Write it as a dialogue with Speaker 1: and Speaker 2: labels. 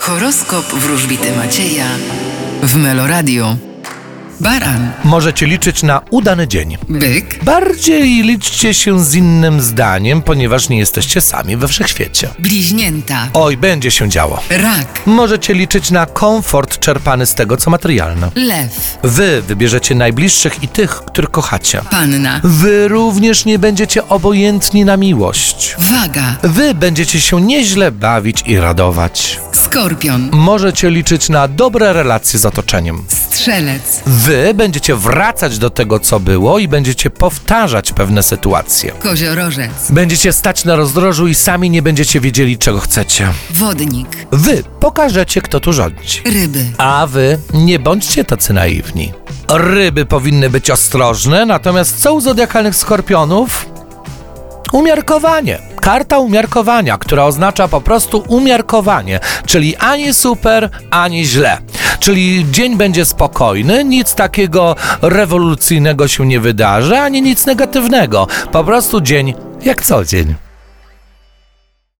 Speaker 1: Horoskop wróżbity Macieja w Meloradio. Baran,
Speaker 2: Możecie liczyć na udany dzień.
Speaker 1: byk,
Speaker 2: Bardziej liczcie się z innym zdaniem, ponieważ nie jesteście sami we wszechświecie.
Speaker 1: bliźnięta,
Speaker 2: Oj, będzie się działo.
Speaker 1: rak,
Speaker 2: Możecie liczyć na komfort czerpany z tego, co materialne.
Speaker 1: lew,
Speaker 2: Wy wybierzecie najbliższych i tych, których kochacie.
Speaker 1: panna,
Speaker 2: Wy również nie będziecie obojętni na miłość.
Speaker 1: waga,
Speaker 2: Wy będziecie się nieźle bawić i radować.
Speaker 1: skorpion,
Speaker 2: Możecie liczyć na dobre relacje z otoczeniem.
Speaker 1: strzelec,
Speaker 2: Wy będziecie wracać do tego, co było i będziecie powtarzać pewne sytuacje.
Speaker 1: koziorożec,
Speaker 2: Będziecie stać na rozdrożu i sami nie będziecie wiedzieli, czego chcecie.
Speaker 1: wodnik,
Speaker 2: Wy pokażecie, kto tu rządzi.
Speaker 1: ryby,
Speaker 2: A wy nie bądźcie tacy naiwni. Ryby powinny być ostrożne, natomiast co u zodiakalnych skorpionów? Umiarkowanie. Karta umiarkowania, która oznacza po prostu umiarkowanie, czyli ani super, ani źle. Czyli dzień będzie spokojny, nic takiego rewolucyjnego się nie wydarzy, ani nic negatywnego. Po prostu dzień jak co dzień.